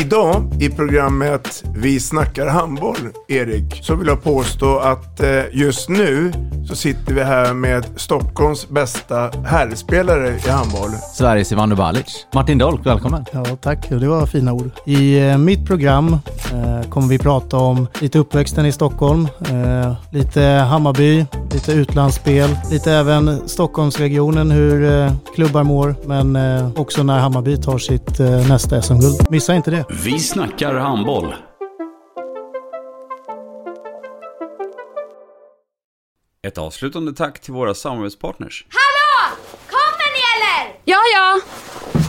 Idag i programmet Vi snackar handboll, Erik, så vill jag påstå att eh, just nu så sitter vi här med Stockholms bästa herrspelare i handboll. Sveriges Ivan Dubalic. Martin Dolk, välkommen. Ja, tack. Ja, Det var fina ord. I eh, mitt program eh, kommer vi prata om lite uppväxten i Stockholm, eh, lite Hammarby, lite utlandsspel, lite även Stockholmsregionen, hur eh, klubbar mår, men eh, också när Hammarby tar sitt eh, nästa SM-guld. Missa inte det. Vi snackar handboll. Ett avslutande tack till våra samarbetspartners. Hallå! Kommer ni eller? Ja, ja.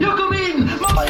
Jag kom in! Mamma,